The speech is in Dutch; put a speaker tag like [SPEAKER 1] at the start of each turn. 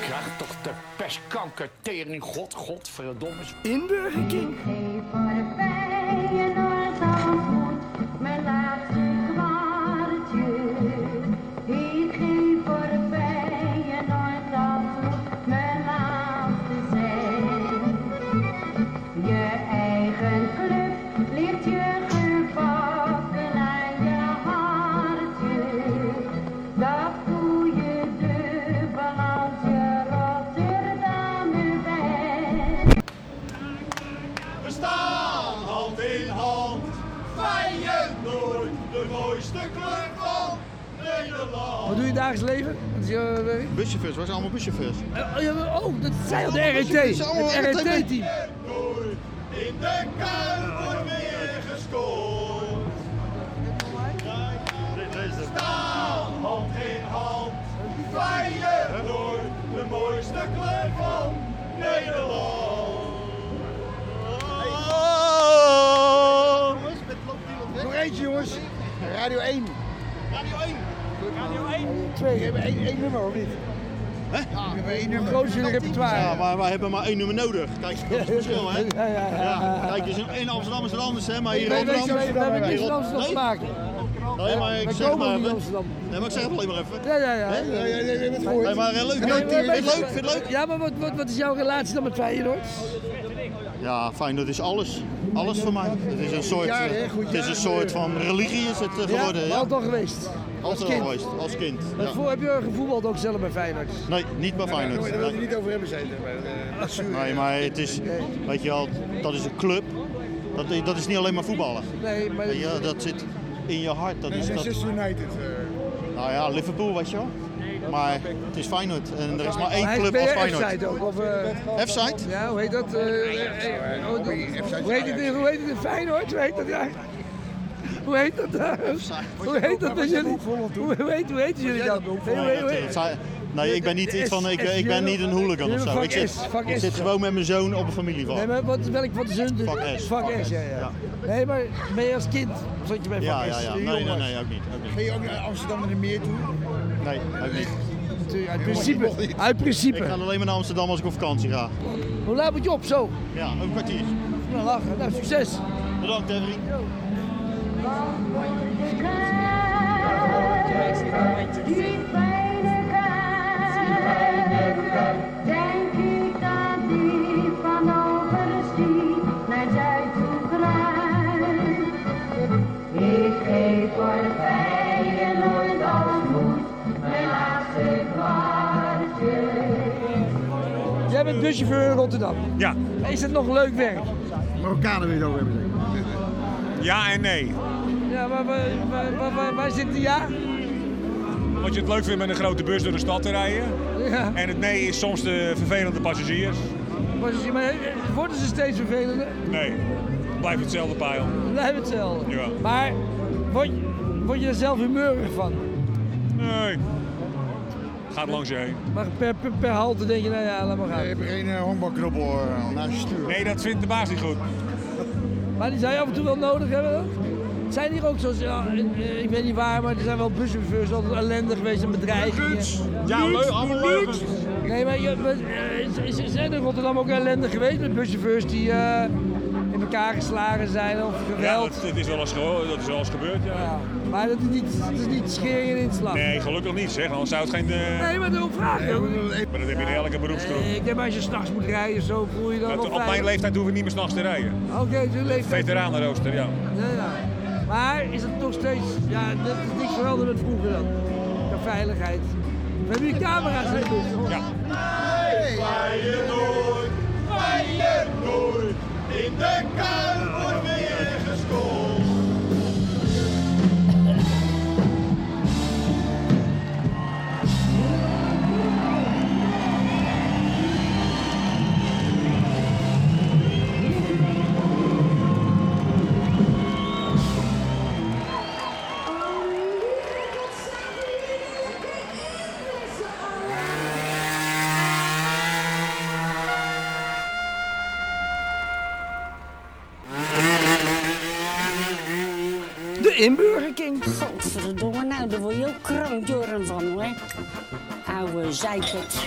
[SPEAKER 1] Krijg toch de pestkanker tering, god, godverdomme.
[SPEAKER 2] In Burger King.
[SPEAKER 3] Geef voor de Feyenoord Zandvoort mijn laatste kwartje. Ik geef voor de Feyenoord Zandvoort mijn laatste cent. Je eigen club ligt je gebakken aan je hartje. Dat voel je dubbel als je Rotterdammer bent.
[SPEAKER 4] We staan hand in hand. Feyenoord, de mooiste club van Nederland.
[SPEAKER 2] Wat doe je dagelijks leven? Dat is je werk.
[SPEAKER 5] Buschauffeurs, wij zijn allemaal buschauffeurs.
[SPEAKER 2] Eh, oh, ja, Oh, dat zijn al
[SPEAKER 5] E
[SPEAKER 2] de RET. Het RET-team.
[SPEAKER 4] Feyenoord, in de kuip wordt weer gescoord. We staan hand in hand. Feyenoord, de mooiste club van Nederland.
[SPEAKER 5] Jongens, met loopt niemand weg.
[SPEAKER 2] Nog eentje, jongens. Radio 1.
[SPEAKER 5] Radio 1.
[SPEAKER 2] Twee. We hebben één, één nummer, of niet?
[SPEAKER 5] Ja,
[SPEAKER 2] We hebben één nummer. Grootste in het repertoire.
[SPEAKER 5] Ja, maar wij hebben maar één nummer nodig. Kijk, dat is het verschil, hè?
[SPEAKER 2] Ja, ja, ja.
[SPEAKER 5] Ja, kijk, dus in- in Amsterdam is het anders, hè? Maar hier in
[SPEAKER 2] Wij weten-
[SPEAKER 5] Rotterdam...
[SPEAKER 2] wij hebben niks
[SPEAKER 5] hier
[SPEAKER 2] in
[SPEAKER 5] Rot-
[SPEAKER 2] Amsterdam te
[SPEAKER 5] Nee?
[SPEAKER 2] maken.
[SPEAKER 5] Nee, maar ik
[SPEAKER 2] Wij
[SPEAKER 5] zeg
[SPEAKER 2] komen niet
[SPEAKER 5] maar
[SPEAKER 2] in
[SPEAKER 5] even...
[SPEAKER 2] Amsterdam.
[SPEAKER 5] Nee, maar ik zeg het alleen maar even.
[SPEAKER 2] Ja, ja, ja.
[SPEAKER 5] Hè?
[SPEAKER 2] Ja, ja, ja, ja, dat hoor
[SPEAKER 5] Nee,
[SPEAKER 2] je.
[SPEAKER 5] maar eh, leuk.
[SPEAKER 2] En
[SPEAKER 5] Vind
[SPEAKER 2] dan-
[SPEAKER 5] je het leuk? Vind je het leuk?
[SPEAKER 2] Ja, maar wat, wat, wat is jouw relatie dan met Feyenoord?
[SPEAKER 5] Ja, fijn, dat is alles. Alles voor mij. Het is een soort,
[SPEAKER 2] Ja, hè,
[SPEAKER 5] eh,
[SPEAKER 2] goed,
[SPEAKER 5] het is
[SPEAKER 2] ja.
[SPEAKER 5] een soort van religie is het eh,
[SPEAKER 2] Ja,
[SPEAKER 5] geworden. Ja,
[SPEAKER 2] altijd al geweest.
[SPEAKER 5] Altijd al
[SPEAKER 2] kind.
[SPEAKER 5] geweest, als kind. ja.
[SPEAKER 2] Daarvoor heb je gevoetbald ook zelf bij Feyenoord.
[SPEAKER 5] Nee, niet bij Feyenoord.
[SPEAKER 6] Daar wil je
[SPEAKER 5] Nee.
[SPEAKER 6] niet over hebben zijn. zeg maar. eh, Dat is zuur.
[SPEAKER 5] Nee, maar het is, weet je wel, dat is een club. Dat, i- dat is niet alleen maar voetballen.
[SPEAKER 2] Nee, maar...
[SPEAKER 5] Weet je wel, dat zit in je hart. Dat is, dat,
[SPEAKER 6] Manchester United. eh.
[SPEAKER 5] nou ja, Liverpool, weet je wel. Maar het is Feyenoord en er is maar
[SPEAKER 2] Maar
[SPEAKER 5] één
[SPEAKER 2] hij is
[SPEAKER 5] club als Feyenoord.
[SPEAKER 2] BRF-site ook. Of, eh,
[SPEAKER 5] F-side?
[SPEAKER 2] ja, hoe heet dat? eh, eh, eh, oh, dat- hoe, heet het, in- hoe heet het in Feyenoord? Hoe heet dat? Ja. Hoe heet dat? eh? hoe heet dat bij jullie? Hoe, hoe, heet, hoe heet jullie dat? Nee, hoe- hoe-
[SPEAKER 5] Het zijn- Nee, ik ben niet iets van, ik, eh, ik ben niet een hooligan of zo. Ik zit, ik zit gewoon met mijn zoon op een
[SPEAKER 2] Nee,
[SPEAKER 5] familieval.
[SPEAKER 2] maar wat, welk, wat is hun?
[SPEAKER 5] Vak S.
[SPEAKER 2] Vak S, ja, ja.
[SPEAKER 5] Ja.
[SPEAKER 2] Nee, maar ben je als kind, zat je bij
[SPEAKER 5] Ja,
[SPEAKER 2] Vak S?
[SPEAKER 5] ja, ja.
[SPEAKER 2] die
[SPEAKER 5] Nee, nee,
[SPEAKER 2] jongens?
[SPEAKER 5] nee, ook niet. Ook niet.
[SPEAKER 6] Ging je ook naar Amsterdam en de meer toe?
[SPEAKER 5] Nee, ook niet.
[SPEAKER 2] Natuurlijk, Uit principe. Uit
[SPEAKER 5] Ik ga
[SPEAKER 2] principe.
[SPEAKER 5] alleen maar naar Amsterdam als ik op vakantie ga.
[SPEAKER 2] Hoe laat moet je op? Zo.
[SPEAKER 5] Ja, een kwartier.
[SPEAKER 2] Nou, lachen. Nou, succes.
[SPEAKER 5] Bedankt, hè, vriend.
[SPEAKER 3] Die fijne kaart, denk ik dat die van overzien naar Zuid toe kruipt. Ik geef voor de Feyenoord als moed mijn laatste kwartje.
[SPEAKER 2] Jij bent buschauffeur in Rotterdam.
[SPEAKER 7] Ja.
[SPEAKER 2] Is dat nog leuk werk?
[SPEAKER 6] Marokkanen wil je het over hebben zijn.
[SPEAKER 7] Ja en nee.
[SPEAKER 2] Ja, maar waar, waar, waar, waar, waar zit die ja?
[SPEAKER 7] Omdat je het leuk vindt met een grote bus door de stad te rijden.
[SPEAKER 2] Ja,
[SPEAKER 7] En het nee is soms de vervelende passagiers.
[SPEAKER 2] maar ze- maar worden ze steeds vervelender?
[SPEAKER 7] Nee, blijft hetzelfde pijl.
[SPEAKER 2] Blijft hetzelfde.
[SPEAKER 7] Ja.
[SPEAKER 2] Maar word, word je er zelf humeurig van?
[SPEAKER 7] Nee. Gaat langs je heen.
[SPEAKER 2] Maar per, per, per halte denk je, nou ja, laat maar
[SPEAKER 6] Je
[SPEAKER 2] gaan.
[SPEAKER 6] hebt geen eh, honkbalknobbel eh, naast je stuur.
[SPEAKER 7] Nee, dat vindt de baas niet goed.
[SPEAKER 2] Maar die zou je af en toe wel nodig hebben dan? Zijn hier ook zoals, ja, eh, ik weet niet waar, maar er zijn wel buschauffeurs altijd ellendig geweest en bedreigingen.
[SPEAKER 7] Ja, leuk, allemaal leugens.
[SPEAKER 2] Nee, maar je- maar, eh, is- is- is- zijn er in Rotterdam ook ellendig geweest met buschauffeurs die eh, in elkaar geslagen zijn of
[SPEAKER 7] Ja,
[SPEAKER 2] geweld?
[SPEAKER 7] dat, dat is wel eens, geho- dat is wel eens gebeurd, ja.
[SPEAKER 2] Ja, maar dat is niet, dat is niet schering en inslag.
[SPEAKER 7] Nee, gelukkig niet zeg, anders zou het geen... eh,
[SPEAKER 2] Nee, maar daarom vraag ik. ook.
[SPEAKER 7] Maar dat heb je in elke beroepsgroep.
[SPEAKER 2] Nee, ik denk maar als je s'nachts moet rijden, zo voel je dan
[SPEAKER 7] Dat-
[SPEAKER 2] wel
[SPEAKER 7] op mijn
[SPEAKER 2] veilig.
[SPEAKER 7] leeftijd hoeven we niet meer s'nachts te rijden.
[SPEAKER 2] Oké, dus leeftijd.
[SPEAKER 7] Veteranenrooster, ja.
[SPEAKER 2] Ja, ja. Maar is het nog steeds, ja, dat is niks veranderd met vroeger dan. De veiligheid. We hebben hier camera's in de bus.
[SPEAKER 7] Ja.
[SPEAKER 4] Feyenoord, Feyenoord, in de kuil wordt weer gescoord.
[SPEAKER 2] De Inburger King.
[SPEAKER 8] Godverdomme, nou, daar word je ook krankjoren van, hoor. Oude zeikert.